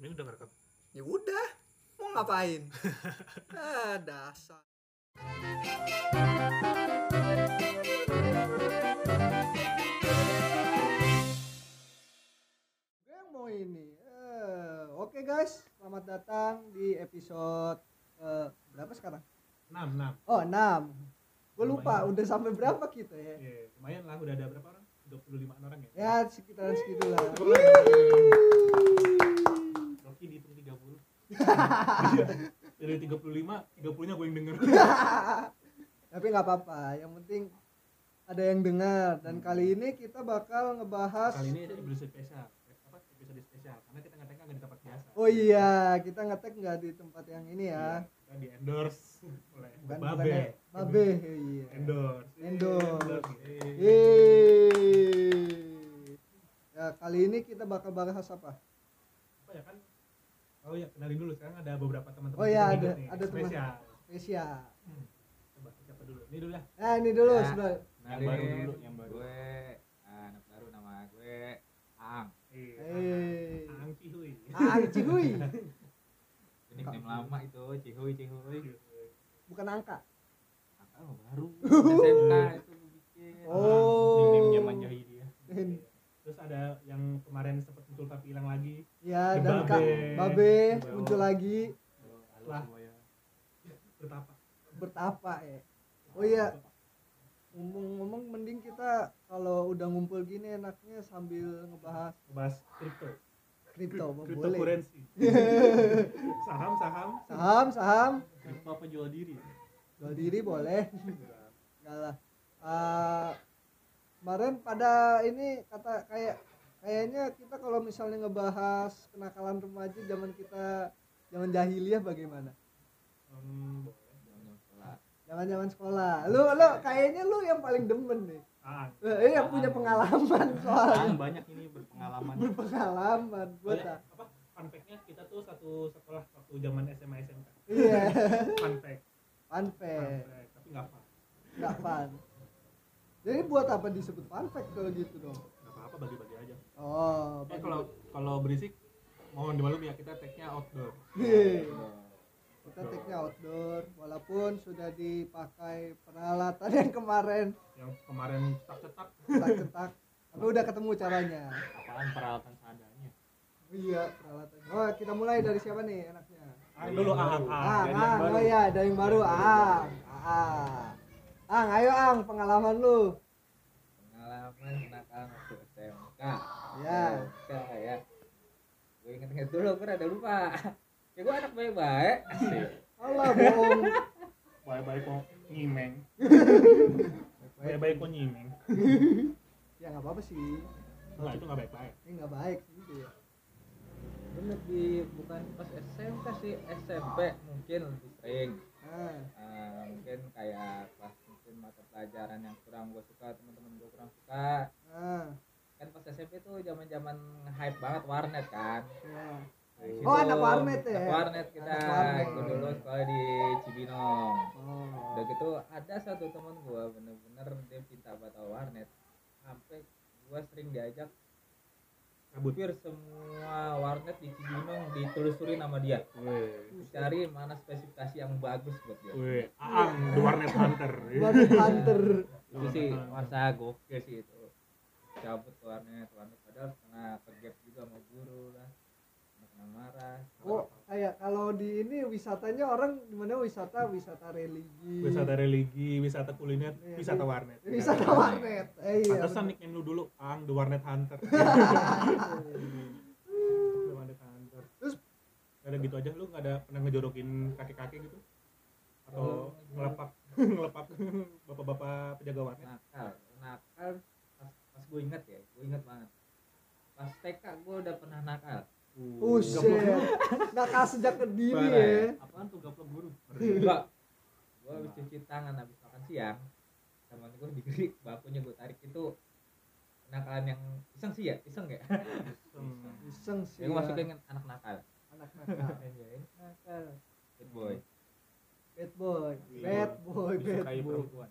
Ini udah ngerekam. ya udah mau ngapain ah dasar gue yang mau ini Eh, oke guys selamat datang di episode eh, berapa sekarang 6, 6. oh 6 gue lupa Lumayan. udah sampai berapa kita ya Iya, lumayan lah udah ada berapa orang? 25 orang ya. ya sekitaran segitu lah Rocky dihitung 30. Dari 35, 30-nya gue yang denger. tapi nggak apa-apa yang penting ada yang dengar dan kali ini kita bakal ngebahas Hmm. Kali ini ada episode spesial. Apa? Episode spesial. Karena kita ngetek nggak di tempat biasa. Iya, oh iya kita ngetek nggak di tempat yang ini ya Kita di endorse oleh bukan Iya. Babe. bukan ya. babe iya Endorse. Iya. Endorse. Iya. Endorse. Yeay. ya kali ini kita bakal bahas apa Apa ya kan? Oh ya, kenalin dulu sekarang ada beberapa teman-teman Oh iya, kita ada- ikut nih, ada teman. spesial. spesial Hmm. Coba siapa dulu? Ini dulu lah. nah ini dulu Ya. sebelum Yang baru dulu, yang baru. Gue ah, anak baru nama gue Ang. Eh, eh Ang Cihuy. Aang Ah, Cihuy Nickname lama itu Cihuy Iya, Cihuy. bukan angka Kakak mah baru. SMK itu gue bikin. oh Ah, dia. Terus ada yang kemarin sempat muncul tapi hilang lagi. ya The dan Babe. kak babe Babe. muncul lagi Lah. Halo semuanya. Betapa. bertapa ya oh iya ngomong-ngomong mending kita kalau udah ngumpul gini enaknya sambil ngebahas Bahas kripto. kripto apa Oh, boleh Cryptocurrency. Saham-saham. saham saham Kripto apa jual diri? jual diri boleh enggak lah Ah, kemarin pada ini kata kayak kayaknya kita kalau misalnya ngebahas kenakalan remaja zaman kita zaman jahiliyah bagaimana Hmm, boleh. Jam-jam sekolah. zaman zaman sekolah lu lu kayaknya lu yang paling demen nih Ang. Eh, yang punya pengalaman soalnya Ang banyak ini berpengalaman. berpengalaman Oh gua iya, tak apa? Fun fact-nya kita tuh satu sekolah waktu zaman SMA SMK. iya Fun fact. fun Fun fact fact. Tapi nggak apa. Nggak fun. Jadi buat apa disebut fun fact kalau gitu dong? Nggak apa-apa bagi-bagi aja. Oh, Eh kalau kalau berisik mohon dimaklum ya kita tag-nya outdoor. Hei, Iya. kita take-nya outdoor walaupun sudah dipakai peralatan yang kemarin Yang kemarin cetak-cetak cetak-cetak tapi udah ketemu caranya. Apaan peralatan seadanya. Iya, peralatan. Oh, kita mulai dari siapa nih enaknya? Ang dulu ang Ah, ang. ah, oh iya, dari yang baru. Ah, ah. Ang, ayo Ang, pengalaman lu. Pengalaman kenakalan waktu SMK. Iya. Ya. SMK ya. Gue inget-inget dulu, gue rada lupa. Ya gue anak baik-baik. Asik. Allah bohong. Bye-bye kok nyimeng. Baik. Bye-bye kok nyimeng. Ya nggak apa-apa sih. Enggak itu enggak baik-baik. Ini nggak baik gitu ya. Gue lebih bukan pas SMK sih, SMP mungkin lebih sering. Nah, Eh, mungkin kayak pas mungkin mata pelajaran yang kurang gue suka, teman-teman gue kurang suka. nah. Kan pas SMP tuh zaman-zaman hype banget warnet kan. Ya. Dari situ, Oh, anak warnet ya? anak warnet kita. Anak warnet. Gue dulu sekolah di Cibinong. Oh. Udah gitu ada satu teman gue bener-bener dia pinta batal warnet. Sampai gue sering diajak Kabut. hampir semua warnet di Cibinong ditelusuri nama dia. cari mana spesifikasi yang bagus buat dia Weh, Aang the warnet hunter. baru hunter itu sih masa gokil sih itu cabut ke warnet warnet padahal kena kegap juga sama guru lah kena, kena marah oh kayak kalau di ini wisatanya orang gimana wisata wisata religi Wisata religi, wisata kuliner, Iya, wisata iya. warnet. wisata warnet eh, iya Pantesan nickname lu dulu Ang the warnet hunter. the warnet hunter. Terus- Nggak ada gitu aja lu nggak ada pernah ngejorokin kaki-kaki gitu? Eh, Atau Oh. ngelepak ngelepak bapak-bapak penjaga warnet? nakal nakal pas, pas gue inget ya gue inget banget pas TK gue udah pernah nakal Oh, shit. nakal Nah, sejak ke dini Parah ya Apaan tuh gaplok guru? enggak gue habis cuci tangan habis makan siang teman gue digerik bakunya gue tarik itu kenakalan yang iseng sih ya iseng ya Iya, iseng sih yang ya. masih keinget anak nakal anak nakal Anjay, nakal good boy bad boy bad boy bad boy perempuan.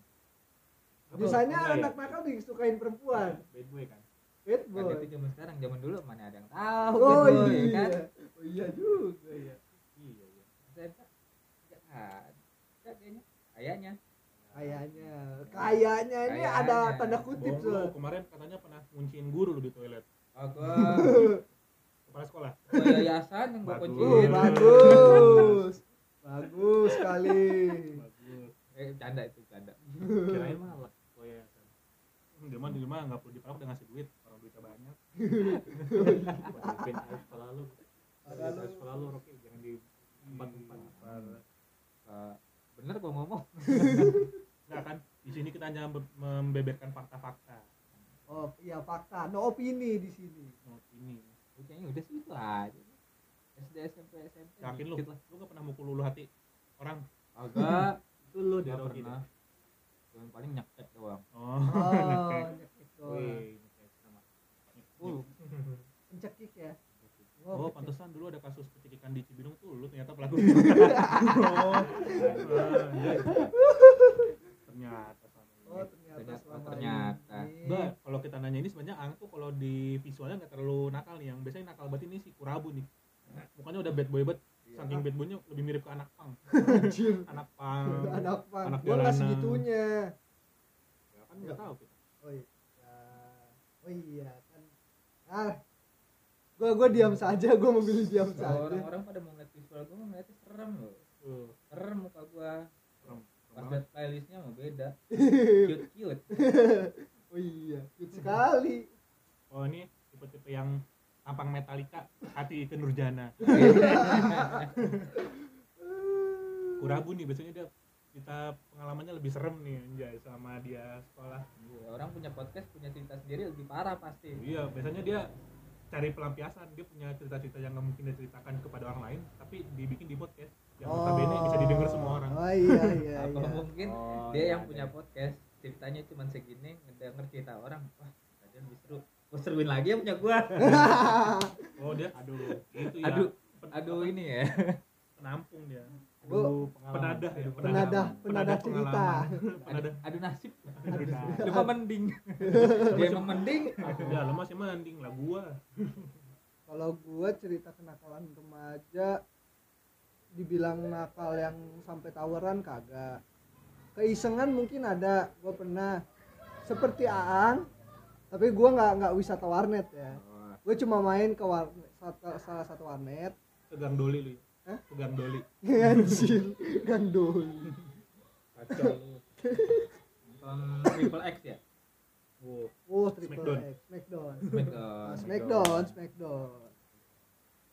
ya? Iya. biasanya anak nakal disukain perempuan bad boy kan. bad Kan boy itu zaman sekarang, zaman dulu mana ada yang tahu oh kan, boy, iya kan? oh iya Iya, tanda kutip Bohong lu, soalnya. kemarin katanya pernah ngunciin guru lu di toilet. Oh, gua Kepala sekolah. gua yayasan yang gua Uh, Bagus. Iya. kunciin. bagus. Bagus sekali. Bagus. Eh, canda itu canda. Kirain malah. Oh iya. Dia mah di rumah nggak perlu dipalak udah ngasih duit. Orang duitnya banyak. Pin sekolah lu. Parah lu. Sekolah lu Rocky jangan di tempat-tempat. Iya. Eh, bener gua ngomong. Enggak kan? Di sini kita hanya mem- membeberkan fakta-fakta. Oh, iya fakta. No opini di sini. Oh, ini. Gua Kayaknya udah sih itu aja. SD SMP SMP. Yakin lu? dikit lah. Lu nggak pernah mukul ulu hati orang? Agak Itu lu gua deh Rocky. pernah. Yang paling nyaktek doang. Oh. Oh, nyekik doang. Wih, kayak sama. Uh, Iya. Mencekik ya. Oh, pantesan dulu ada kasus pencekikan di Cibinong tuh lu ternyata pelaku. oh, iya. ternyata sama. Oh, ternyata Ternyata- selama ternyata. ini. Mbak, kalau kita nanya ini sebenarnya Ang tuh kalau di visualnya nggak terlalu nakal nih. Yang biasanya nakal banget ini si Kurabu nih. Mukanya udah bad boy banget. Saking bad boynya lebih mirip ke anak pang. Anjir. Anak pang. Anak pang. anak Gua nggak jalanan. segitunya. Ya, kan nggak tahu kita. Oh iya. Oh iya kan. Ah. Gua gua diam saja, gua memilih diam Kalau saja. orang-orang pada mau ngeliat visual gua mau ngeliatnya serem loh. Tuh, Serem muka gua. serem. Serem Pas banget. liat playlistnya mau beda. Iya. Cute cute. Oh iya, cute sekali. Oh, ini tipe-tipe yang tampang metalika hati ke Nurjana. Kurabu nih biasanya dia kita pengalamannya lebih serem nih anjay sama dia sekolah. Iya, orang punya podcast punya cerita sendiri lebih parah pasti. Iya, biasanya dia cari pelampiasan, dia punya cerita-cerita yang nggak mungkin dia ceritakan kepada orang lain, tapi dibikin di podcast. Yang notabene bisa didengar semua orang. Oh iya iya Apa iya. mungkin Oh, dia iya, yang ada. punya podcast ceritanya cuman segini ngedenger cerita orang wah tadi lebih seru gue seruin lagi ya punya gua Oh, dia aduh, itu ya. aduh pen- aduh apa, ini ya penampung dia. Gua- Penadah ya, Penadah, penadah cerita. pengalaman. aduh, penadah. aduh nasib Aduh, nah. lu mah mending dia mah mending Ya, lo masih mending lah gua. Kalau gua cerita kenakalan remaja dibilang nakal yang sampai tawuran kagak. Keisengan mungkin ada, gua pernah seperti Aang, tapi gua nggak nggak wisata warnet ya. Oh. Gue cuma main ke warnet, satu- salah satu warnet Iya, Pegang doli lu. Hah? Pegang doli. Anjir, Gang Doli. kacau lu. nonton triple X ya Wow. Oh, triple Smackdown. X, Smackdown. Smackdown. Ah, Smackdown, Smackdown.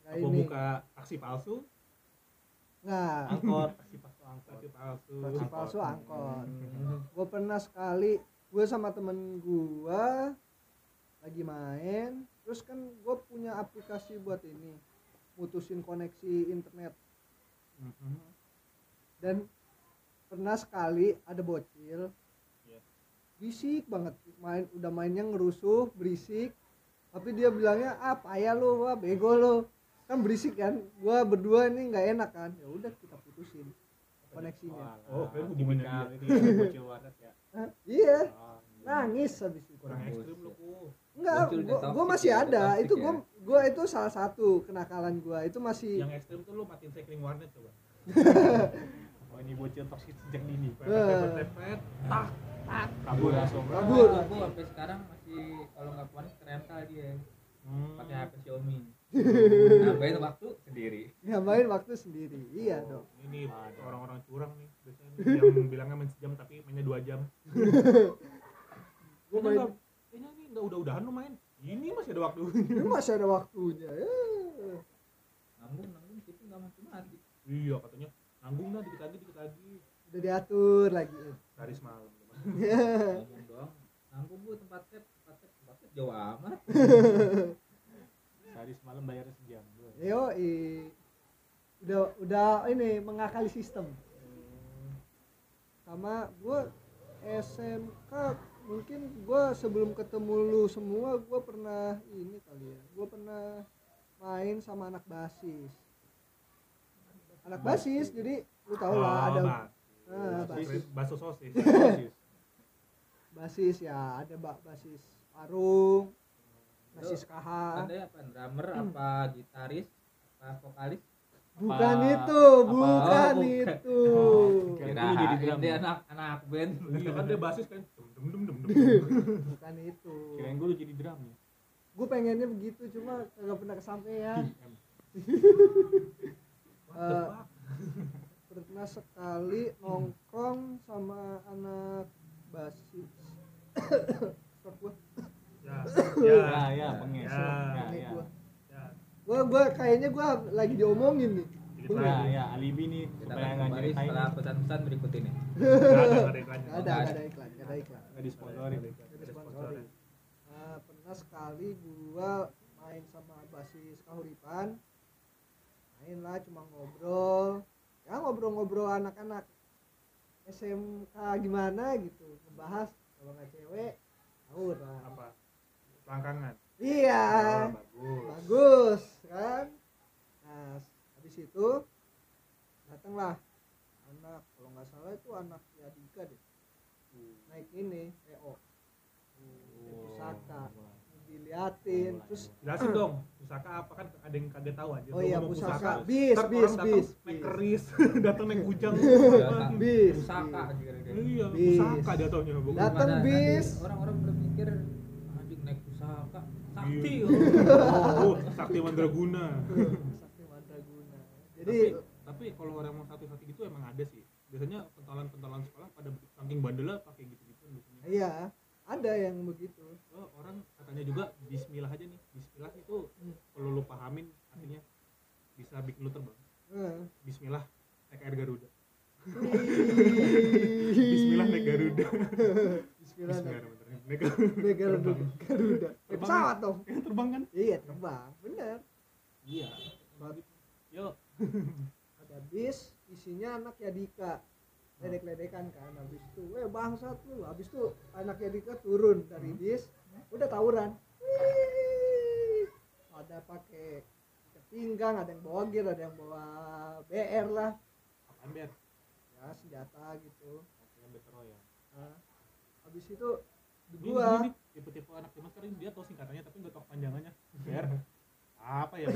Nah, Aku ini. buka taksi palsu, Nah, angkot, taksi palsu, angkot, taksi palsu. taksi angkot. palsu angkot. Hmm. Gue pernah sekali, gue sama temen gue lagi main, terus kan gue punya aplikasi buat ini, mutusin koneksi internet. Mhm. Dan pernah sekali ada bocil, Iya. bisik banget, main udah mainnya ngerusuh, berisik, tapi dia bilangnya ah payah lo, wah bego lo, kan berisik kan, gue berdua ini nggak enak kan, ya udah kita putusin koneksinya. Oh, kalian hubungannya Tipikal dia. itu ya, bocil warnet ya. Hah? Iya, Oh, iya. nangis habis itu. Kurang Kurang ekstrim bos, lu, ya. Ku. Enggak, Muncul gua, detox gua sih, masih ya, ada. detox Itu sih, gua ya. gua itu salah satu kenakalan gua. Itu masih Yang ekstrim tuh lu matiin cycling warnet coba. Oh, ini bocil toksik sejak dini. Pepet, Eh. pepet, pepet, tak, tak, Iya. kabur langsung. Kabur. Nah, gua sampai sekarang masih kalau nggak puan rental dia Hmm. pakai HP Xiaomi nambahin waktu sendiri nyamain waktu sendiri. Iya Oh, dong. Ini orang-orang curang nih biasanya nih, yang bilangnya main sejam tapi mainnya dua jam. Gua Kayaknya main nggak- Kayaknya ini nggak udah-udahan lu main. Ini masih ada waktu. ini masih ada waktunya. Eh, nanggung nanggung itu nggak mati mati iya katanya nanggung dah dikit lagi dikit lagi udah diatur lagi. dari semalam. ngomong doang nanggung bu tempat set tempat set tempat set jauh amat Sehari semalam bayarnya sejam. Gua. Yo, udah udah ini mengakali sistem. Sama gua SMK mungkin gua sebelum ketemu lu semua gua pernah ini kali ya. Gua pernah main sama anak basis. Anak basis jadi lu tau Oh, lah Oh, ada Ah, basis. baso sosis. Iya, basis ya ada bak basis parung basis kaha Hmm. ada apa drummer apa gitaris apa vokalis Bukan Apa- itu, apa- bukan Oh, bukan. itu. Kirain Kirain dulu jadi drum. dia anak anak band Iya kan dia basis kan. Dum dum dum dum dum. Bukan itu. Kirain gue udah jadi drum ya. Gue pengennya begitu cuma kagak pernah kesampaian. What the Eh, fuck? pernah sekali nongkrong sama anak basis Stok gua Ya. iya. Ya, ya, Ya. pengen. Ya, ini ya. gua Ya. gua gua kayaknya gua lagi diomongin nih Dikit Nah, lagi. ya, alibi nih kita supaya akan nggak kembali nyeritain. setelah pesan-pesan berikut ini Nggak ada, nggak ada iklannya. gak ada gak ada iklan gak ada iklan Nggak disponsorin. Nggak ada Nggak sponsorin. Nah, pernah sekali gua main sama basis kahuripan main lah cuma ngobrol ya ngobrol-ngobrol anak-anak SMK gimana gitu ngebahas kalau nggak cewek tahu lah Apa? Langkangan. iya Oh, Bagus. bagus kan nah habis itu datanglah anak kalau nggak salah itu anak ya Dika deh naik ini EO Oh. Naik pusaka diliatin terus Jelasin dong, pusaka apa kan ada yang kagak tahu aja. oh Lu iya ngomong pusaka bis Ntar bis orang datang bis naik bis. keris, datang naik kujang. Datang. bis pusaka bis. Iya, Bis. pusaka jatuhnya. bukan. Datang Gimana tadi bis. orang-orang berpikir anjing naik pusaka sakti Iya. Oh, sakti mandraguna. sakti mandraguna jadi Jadi tapi, kalau orang mau satu-satu gitu emang ada sih. Biasanya pentolan-pentolan sekolah pada saking bandelnya pakai gitu-gitu biasanya. iya ada yang begitu Oh, orang katanya juga bismillah aja nih. Bismillah itu Hmm. kalau lu pahamin artinya bisa bikin lu terbang. Eh. Bismillah naik air Garuda. Bismillah Bismillah naik Garuda. Bismillah naik Bismillahirrahmanirrahim. Naik Garuda. naik Garuda. Garuda. Naik Terbang. pesawat dong. terbang kan? Iya terbang, bener. Iya. Yuk. Ada bis, isinya anak Yadika. Ledek-ledekan kan, habis itu, eh bangsat lu. Habis itu anak Yadika turun Hmm. dari bis, udah tawuran. Wih. Ada pakai ikat pinggang, ada yang bawa gear, ada yang bawa BR lah. Apaan biar? Ya senjata gitu. Apaan battle royale? Nah, habis itu di Ini- gua ini nih, tipe-tipe anak zaman sekarang dia tahu singkatannya tapi nggak tahu panjangannya. Biar apa ya?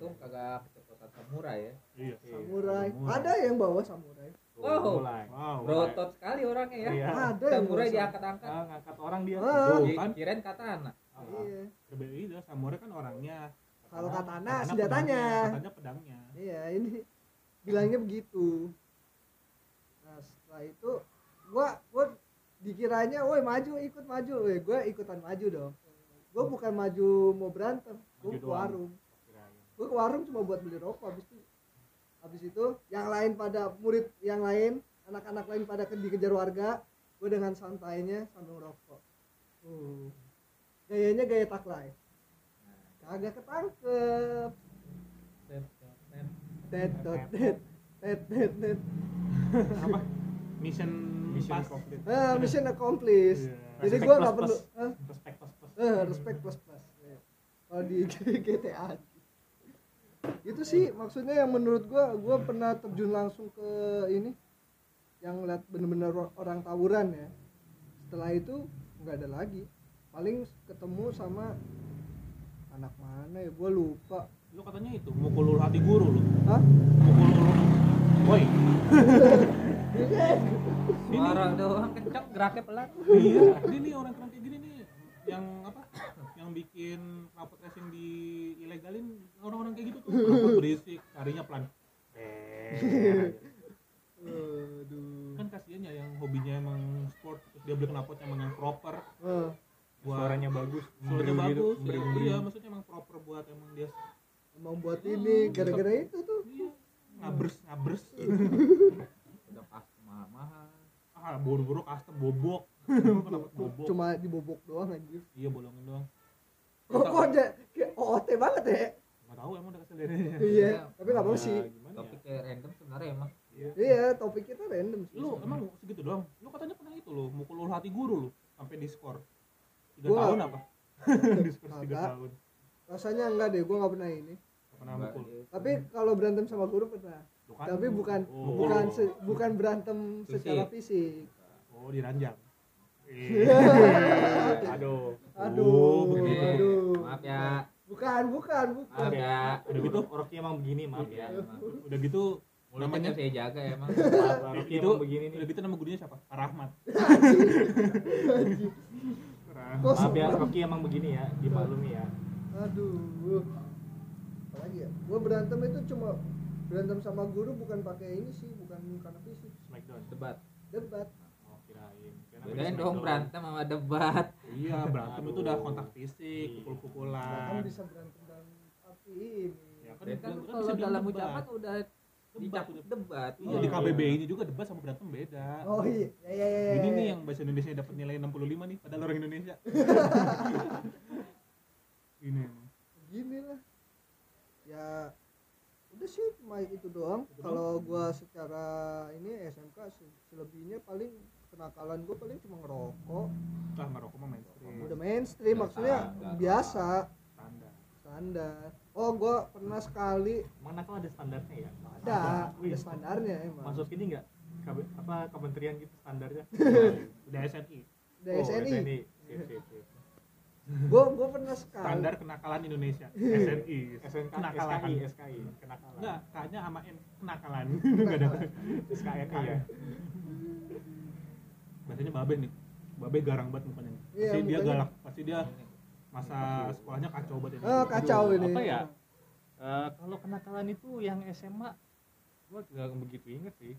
itu kagak kecepatan samurai ya iya. samurai. Ada yang bawa samurai. Wow. Wow. Mulai. Wow. Oh, berotot sekali orangnya ya Ada Iya. yang bawa samurai samurai. diangkat-angkat Ah, ngangkat orang dia. Ah. Iya. Tuh, kan. kan? kirain katana Ah. Iya. Berbeda itu samurai kan orangnya. Kalau katana, katana senjatanya. pedangnya, Katanya pedangnya. Iya ini bilangnya begitu. Nah setelah itu gua gua dikiranya, woi maju ikut maju, woi gua ikutan maju dong. Gua bukan maju mau berantem, gua Maju ke doang. warung. Kirain. Gua ke warung cuma buat beli rokok habis itu. Habis itu yang lain pada murid yang lain, anak-anak lain pada ke- dikejar warga, gua dengan santainya sambil ngerokok. Uh. Gayanya gaya taklay. Kagak ketangkep. Tet tot, tet tet tet tet. Apa? Mission, Mission pas. complete. Ah, mission accomplished. Iya. Jadi Respect gua plus nggak perlu plus. Hah? Respect plus plus. Eh, respect plus plus. Iya. Kalau di GTA itu sih maksudnya yang menurut gua gua pernah terjun langsung ke ini yang lihat bener-bener ro- orang tawuran ya setelah itu nggak ada lagi paling ketemu sama anak mana ya gua lupa Lu katanya itu mukul ulur hati guru lu. Hah? Mukul ulur. Woi, suara doang kenceng geraknya pelan iya ini nih orang keren kayak gini nih yang apa yang bikin rapot racing di ilegalin orang-orang kayak gitu tuh rapot berisik carinya pelan Aduh. kan kasihan ya yang hobinya emang sport terus dia beli knalpot emang yang proper Eh, buat Suaranya bagus. suaranya Bril gitu, bagus ya. bril, bril. iya maksudnya emang proper buat emang dia emang buat ini gara-gara itu tuh iya ngabers ngabers udah pas mahal ah boro-boro custom bobok knalpot bobok cuma dibobok doang anjir iya bolongin doang kok kok aja kayak OOT banget ya nggak tahu emang udah keselirannya iya Iya. tapi nggak apa Ya, sih gimana ya? topiknya random sebenarnya emang iya topik kita random sih lu emang segitu doang lu katanya pernah itu lo mukul ulur hati guru lo sampai di skor tiga Gua- tahun apa di skor tiga Kagak. tahun rasanya enggak deh gua nggak pernah ini Gak pernah mukul iya. tapi kalau berantem sama guru pernah Tuh kan. tapi bukan Hmm. Oh. bukan se- bukan berantem Fisik. secara fisik oh diranjang Eh, aduh aduh begitu. aduh maaf ya bukan bukan bukan Maaf ya. Udah gitu? oroknya emang begini maaf Maaf ya. ya emang. udah gitu Mulutnya Namanya- nggak saya jaga ya, emang. oroknya Itu- emang begini nih udah gitu nama gurunya siapa Pak Rahmat Kok maaf ya serem? Rocky emang begini ya dimaklumi ya aduh apalagi ya gua berantem itu cuma berantem sama guru bukan pakai ini sih bukan karena fisik Smackdown Debat. debat oh kirain Kirain namanya Bedain dong Smackdown. berantem sama debat. Kan iya berantem itu Aduh. udah kontak fisik Iya. bahkan pukul-pukulan bisa berantem dalam api ini Ah. Ya, Dan kan Kan bisa kalau bilang dalam debat. ucapan udah debat dicap debat. iya di KBBI nya juga debat sama berantem beda oh iya ya ya ya, ya, ini ya. nih yang bahasa Indonesia dapat nilai 65 nih padahal orang Indonesia ini emang gini lah ya udah sih cuma itu doang kalau gua secara ini SMK se- selebihnya paling kenakalan gua paling cuma ngerokok Iya. lah ngerokok mah mainstream udah mainstream maksudnya Biasa. biasa standar standar oh gua pernah sekali emang nakal ada standarnya ya ada Wih, ada standarnya emang masuk ini nggak KB- apa kementerian gitu standarnya Oh, udah SNI dari SNI Sip, sip, sip. gua gua pernah sekali standar kenakalan Indonesia SNI SNK, Kenakalan. SKI, SKI, kenakalan. enggak kayaknya sama N kenakalan enggak ada SKNI E. ya. biasanya Babe nih Babe garang banget mukanya nih. Iya, pasti dia mukanya. galak pasti dia masa sekolahnya kacau banget ini. Ah, kacau Aduh, ini apa ya? Eh, kalau kenakalan itu yang SMA gua nggak begitu inget sih.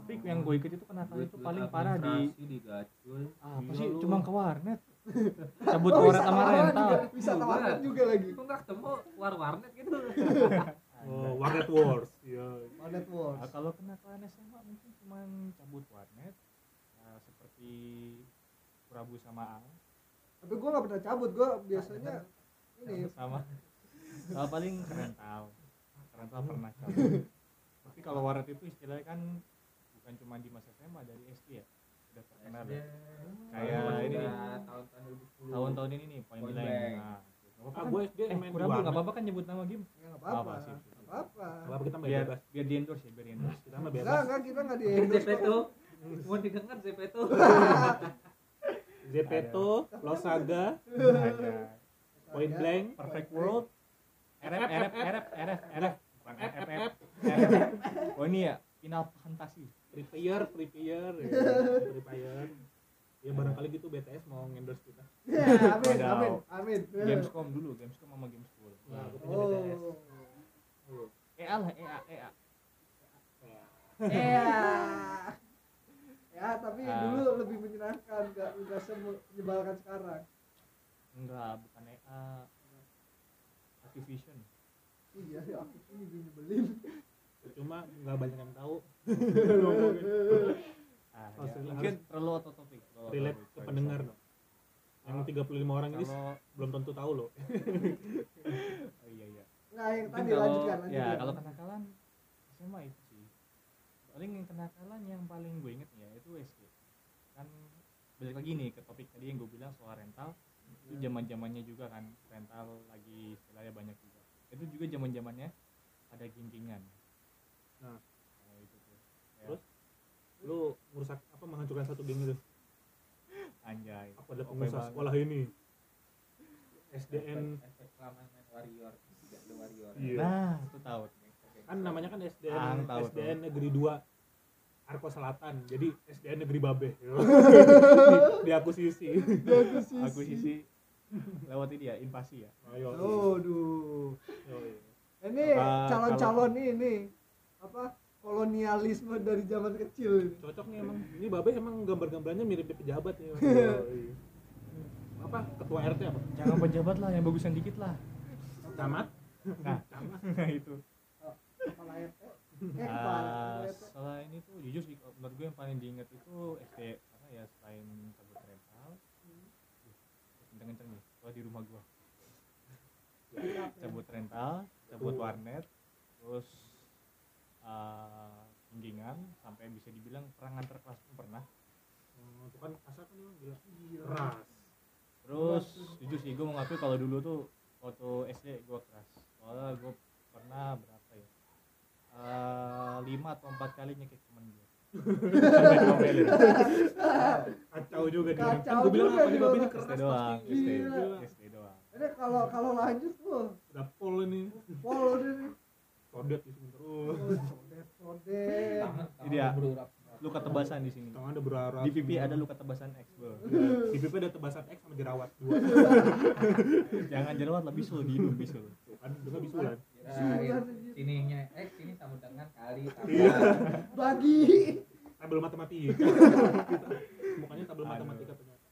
Tapi yang gue ikut itu kenakalan itu paling parah di di gacul ah, apa Gila sih lu. cuma ke warnet. Cabut Oh, warnet wisata sama warnet rental. juga- wisata warnet juga lagi Kok nggak ketemu war warnet gitu? oh warnet wars iya warnet Nah, wars kalau kenakalan SMA mungkin cuma cabut warnet. Nah, seperti Prabu sama Ang. tapi gua nggak pernah cabut Nah, gua biasanya ini Cabut sama Kalau paling keren tahu. Keren tahu pernah cabut. Tapi kalau warnet itu istilahnya kan bukan cuma di masa SMA dari SD ya. Udah terkenal ya. Kayak ini nih, tahun-tahun 2010. tahun-tahun ini nih poin Point blank. blank. Nah, gitu. ah Nggak apa-apa gue kan? SD Eh, main di kurang dulu, nggak warnet apa-apa kan nyebut nama game. Ya, nggak apa-apa. Apa sih? Nggak apa-apa. apa kita main Biar bebas biar di endorse ya, biar di endorse. kita mah Enggak, bebas enggak kita enggak di ZP endorse. tuh. Mau didengar ZP tuh. Zepeto Losaga Nah, ada. Point Blank Perfect World. RF RF RF RF RF bukan F, F, RF. Oh ini ya final fantasi. prepare prepare ya. prepare ya barangkali gitu BTS mau endorse kita Ya, amin, Wadaw. amin, amin. Iya. Gamescom dulu, Gamescom sama Gameschool. Nah, aku punya BTS Oh. EA lah, E EA, EA. Ya. Ya, tapi Ah. dulu lebih menyenangkan, enggak enggak menyebalkan sekarang. Enggak, bukan EA. Activision. Iya, ya, aku sih lebih nyebelin. cuma nggak banyak yang tahu Ah, Oh, ya. serius. Mungkin perlu atau topik. perlu out of relate topic. ke pendengar dong yang 35 orang ini Kalau belum tentu tahu loh oh, iya iya. Nah, yang Kan Mungkin tadi kalau- lanjutkan, Ya, lanjutkan. kalau kenakalan SMA itu sih. Paling yang kenakalan yang paling gue inget ya itu SD. Kan balik lagi nih ke topik tadi yang gue bilang soal rental. Itu Ya. zaman-zamannya juga kan rental lagi istilahnya banyak juga. Itu juga zaman-zamannya ada gintingan. Nah. Nah, itu tuh. Ya, Terus? lu merusak apa menghancurkan satu geng itu anjay. aku adalah Oke pengusaha banget. sekolah ini SDN efek lama main warrior. Tidak ada warrior. Iya. Nah, itu tahu. kan namanya kan Ah, SDN tahu, SDN negeri 2 Arko Selatan jadi SDN negeri Babe Iya. di, di aku sisi Aku sisi lewat ini ya, invasi ya. ayo Aduh. Yoi. Ini Apa, calon-calon ini apa? Kolonialisme dari zaman kecil ini. cocok nih emang ini Babe emang gambar-gambarnya mirip di pejabat ya Iya. Yoi. apa ketua RT apa Jangan pejabat lah, yang bagusan dikit lah. camat Nah, nah itu. Kepala RT. Eh, Ah, kepala RT. selain itu jujur sih kalau menurut gue yang paling diingat itu SD karena ya selain cabut rental Hmm. kenceng-kenceng nih kalau di rumah gue Iya. cabut rental cabut Tuh. warnet terus ah, pinggingan sampai bisa dibilang perang antar kelas pun pernah Hmm, itu kan kasar kan emang gila Iya. keras terus jujur sih gue mengakui kalau dulu tuh waktu SD gue keras soalnya gue pernah berapa ya Ah, lima atau empat kali nyekik temen gue sampai diomelin kacau juga dia Kacau kan gue bilang juga apa nih dia Babe ini orang. keras SD doang pasti SD Gila. SD doang Eh, ini kalau kalau lanjut loh udah pol ini follow ini codet di sini terus sodet sodet Tangan- tangan Iya. berurap. luka tebasan di sini tangan ada berarah di pipi ada luka tebasan X bro di pipi ada tebasan X sama jerawat dua jangan jerawat lah bisul di hidung bisul Tuh kan bisa bisulan Kirain Sulan aja. sininya eh sini sama dengan kali tambah. Iya. bagi tabel matematika mukanya tabel Aduh. matematika ternyata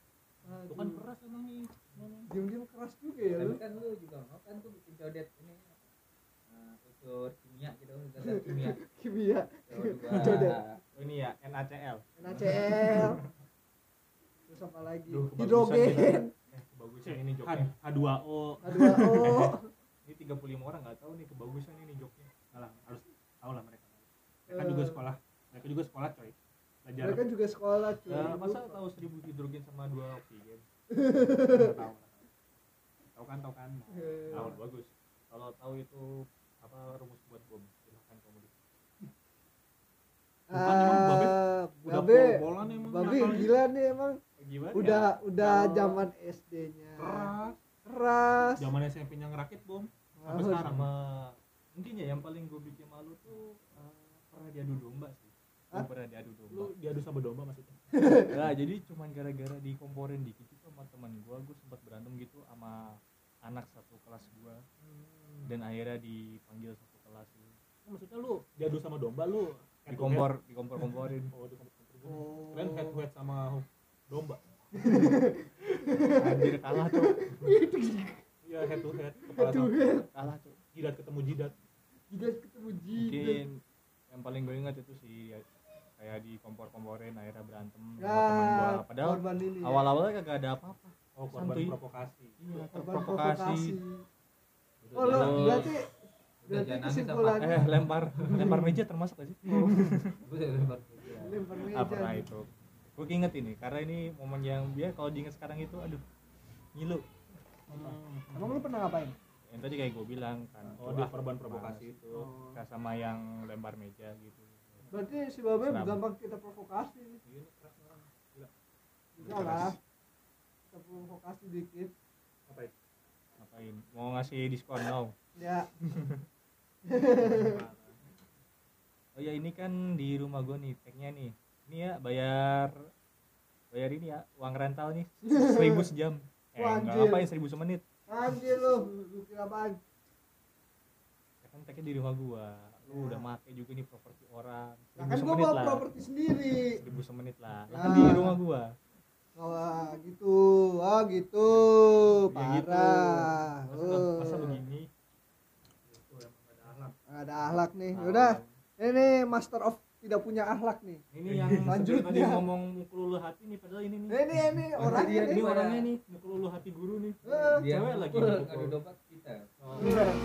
itu kan keras emang nih ngomong. diem diem keras juga ya Tapi lu kan lu juga mau kan tuh bikin codet ini eh, unsur kimia gitu zat kimia kimia CO2. Codet. ini ya NaCl NaCl terus apa lagi Duh, kebagusan hidrogen eh kebagusan Cek, ini joknya H- H2O H2O ini 35 orang nggak tahu nih kebagusan ini joknya Alah, harus tahu lah mereka mereka juga Eh. sekolah mereka juga sekolah coy belajar mereka juga sekolah cuy Eh, Ah, masa Lupa. tahu seribu hidrogen sama dua oksigen Nggak tahu nggak tahu. tahu kan tahu kan Eh, tahu bagus kalau tahu itu apa rumus buat bom silahkan kamu di- Bukan emang Babe. ah, udah Babe, bolan emang Babe nakalnya. gila nih emang gimana udah ya? udah Kalau- zaman SD-nya keras keras zaman SMP nya ngerakit bom sampai Harus. sekarang sama mungkin ya yang paling gue bikin malu tuh eh, pernah diadu domba sih gue Hah? pernah diadu domba lu diadu sama domba maksudnya nah, jadi cuman gara-gara dikomporin dikit itu sama teman gue gue sempat berantem gitu sama anak satu kelas gue Hmm. dan akhirnya dipanggil satu kelas gitu. maksudnya lu diadu sama domba lu head to head. dikompor dikompor-komporin oh dikompor Oh. keren head to head sama domba anjir kalah tuh iya head to head kepala Aduh, sama kalah tuh jidat ketemu jidat jidat eh, ketemu eh. jidat mungkin yang paling gue ingat itu sih ya, kayak dikompor-komporin akhirnya berantem sama Ya, teman Nah, gue padahal korban ini ya. awal-awalnya kagak ada apa-apa oh korban Santuy. provokasi iya Korban terprovokasi Udah Oh, lu jangan- berarti udah berarti jangan nangis kesimpulan. apa? eh lempar lempar meja termasuk gak sih Udah, udah, udah, udah. Oh, lempar meja. apakah itu gue inget ini karena ini momen yang dia kalau diinget sekarang itu aduh ngilu Emang lu pernah ngapain? yang tadi kayak gue bilang kan oh tuh, dia ah, korban males. provokasi itu Oh. Gak sama yang lempar meja gitu Berarti si Babe Seram. gampang kita provokasi. Iya, ini keras orang. Gila. Enggak lah. Kita provokasi dikit. apa itu ngapain mau ngasih diskon no Ya, oh ya ini kan di rumah gue nih tagnya nih ini ya bayar bayar ini ya uang rental nih seribu sejam eh Wah, nggak anjir. ngapain seribu semenit anjir lu, lu kira apaan? ya kan tagnya di rumah gue lu udah make juga nih properti orang Nah, Iya. kan gua seribu semenit bawa lah properti sendiri. seribu semenit lah Lah, Nah. kan di rumah gua Wah, gitu. Ah, gitu. Ya gitu. Parah. Masa be- masa Eh, begini Itu emang gak ada ahlak. nggak ada ahlak nih. Ah. Udah, ini master of tidak punya ahlak nih. ini yang Lanjutnya. lanjut tadi ngomong mukul ulu hati nih padahal ini nih Ini ini orangnya dia- nih. ini orangnya nih mukul ulu hati guru nih iya Eh, Dia Cewek lagi lagi ngadu dipukul. domba kita. Oh. Iya.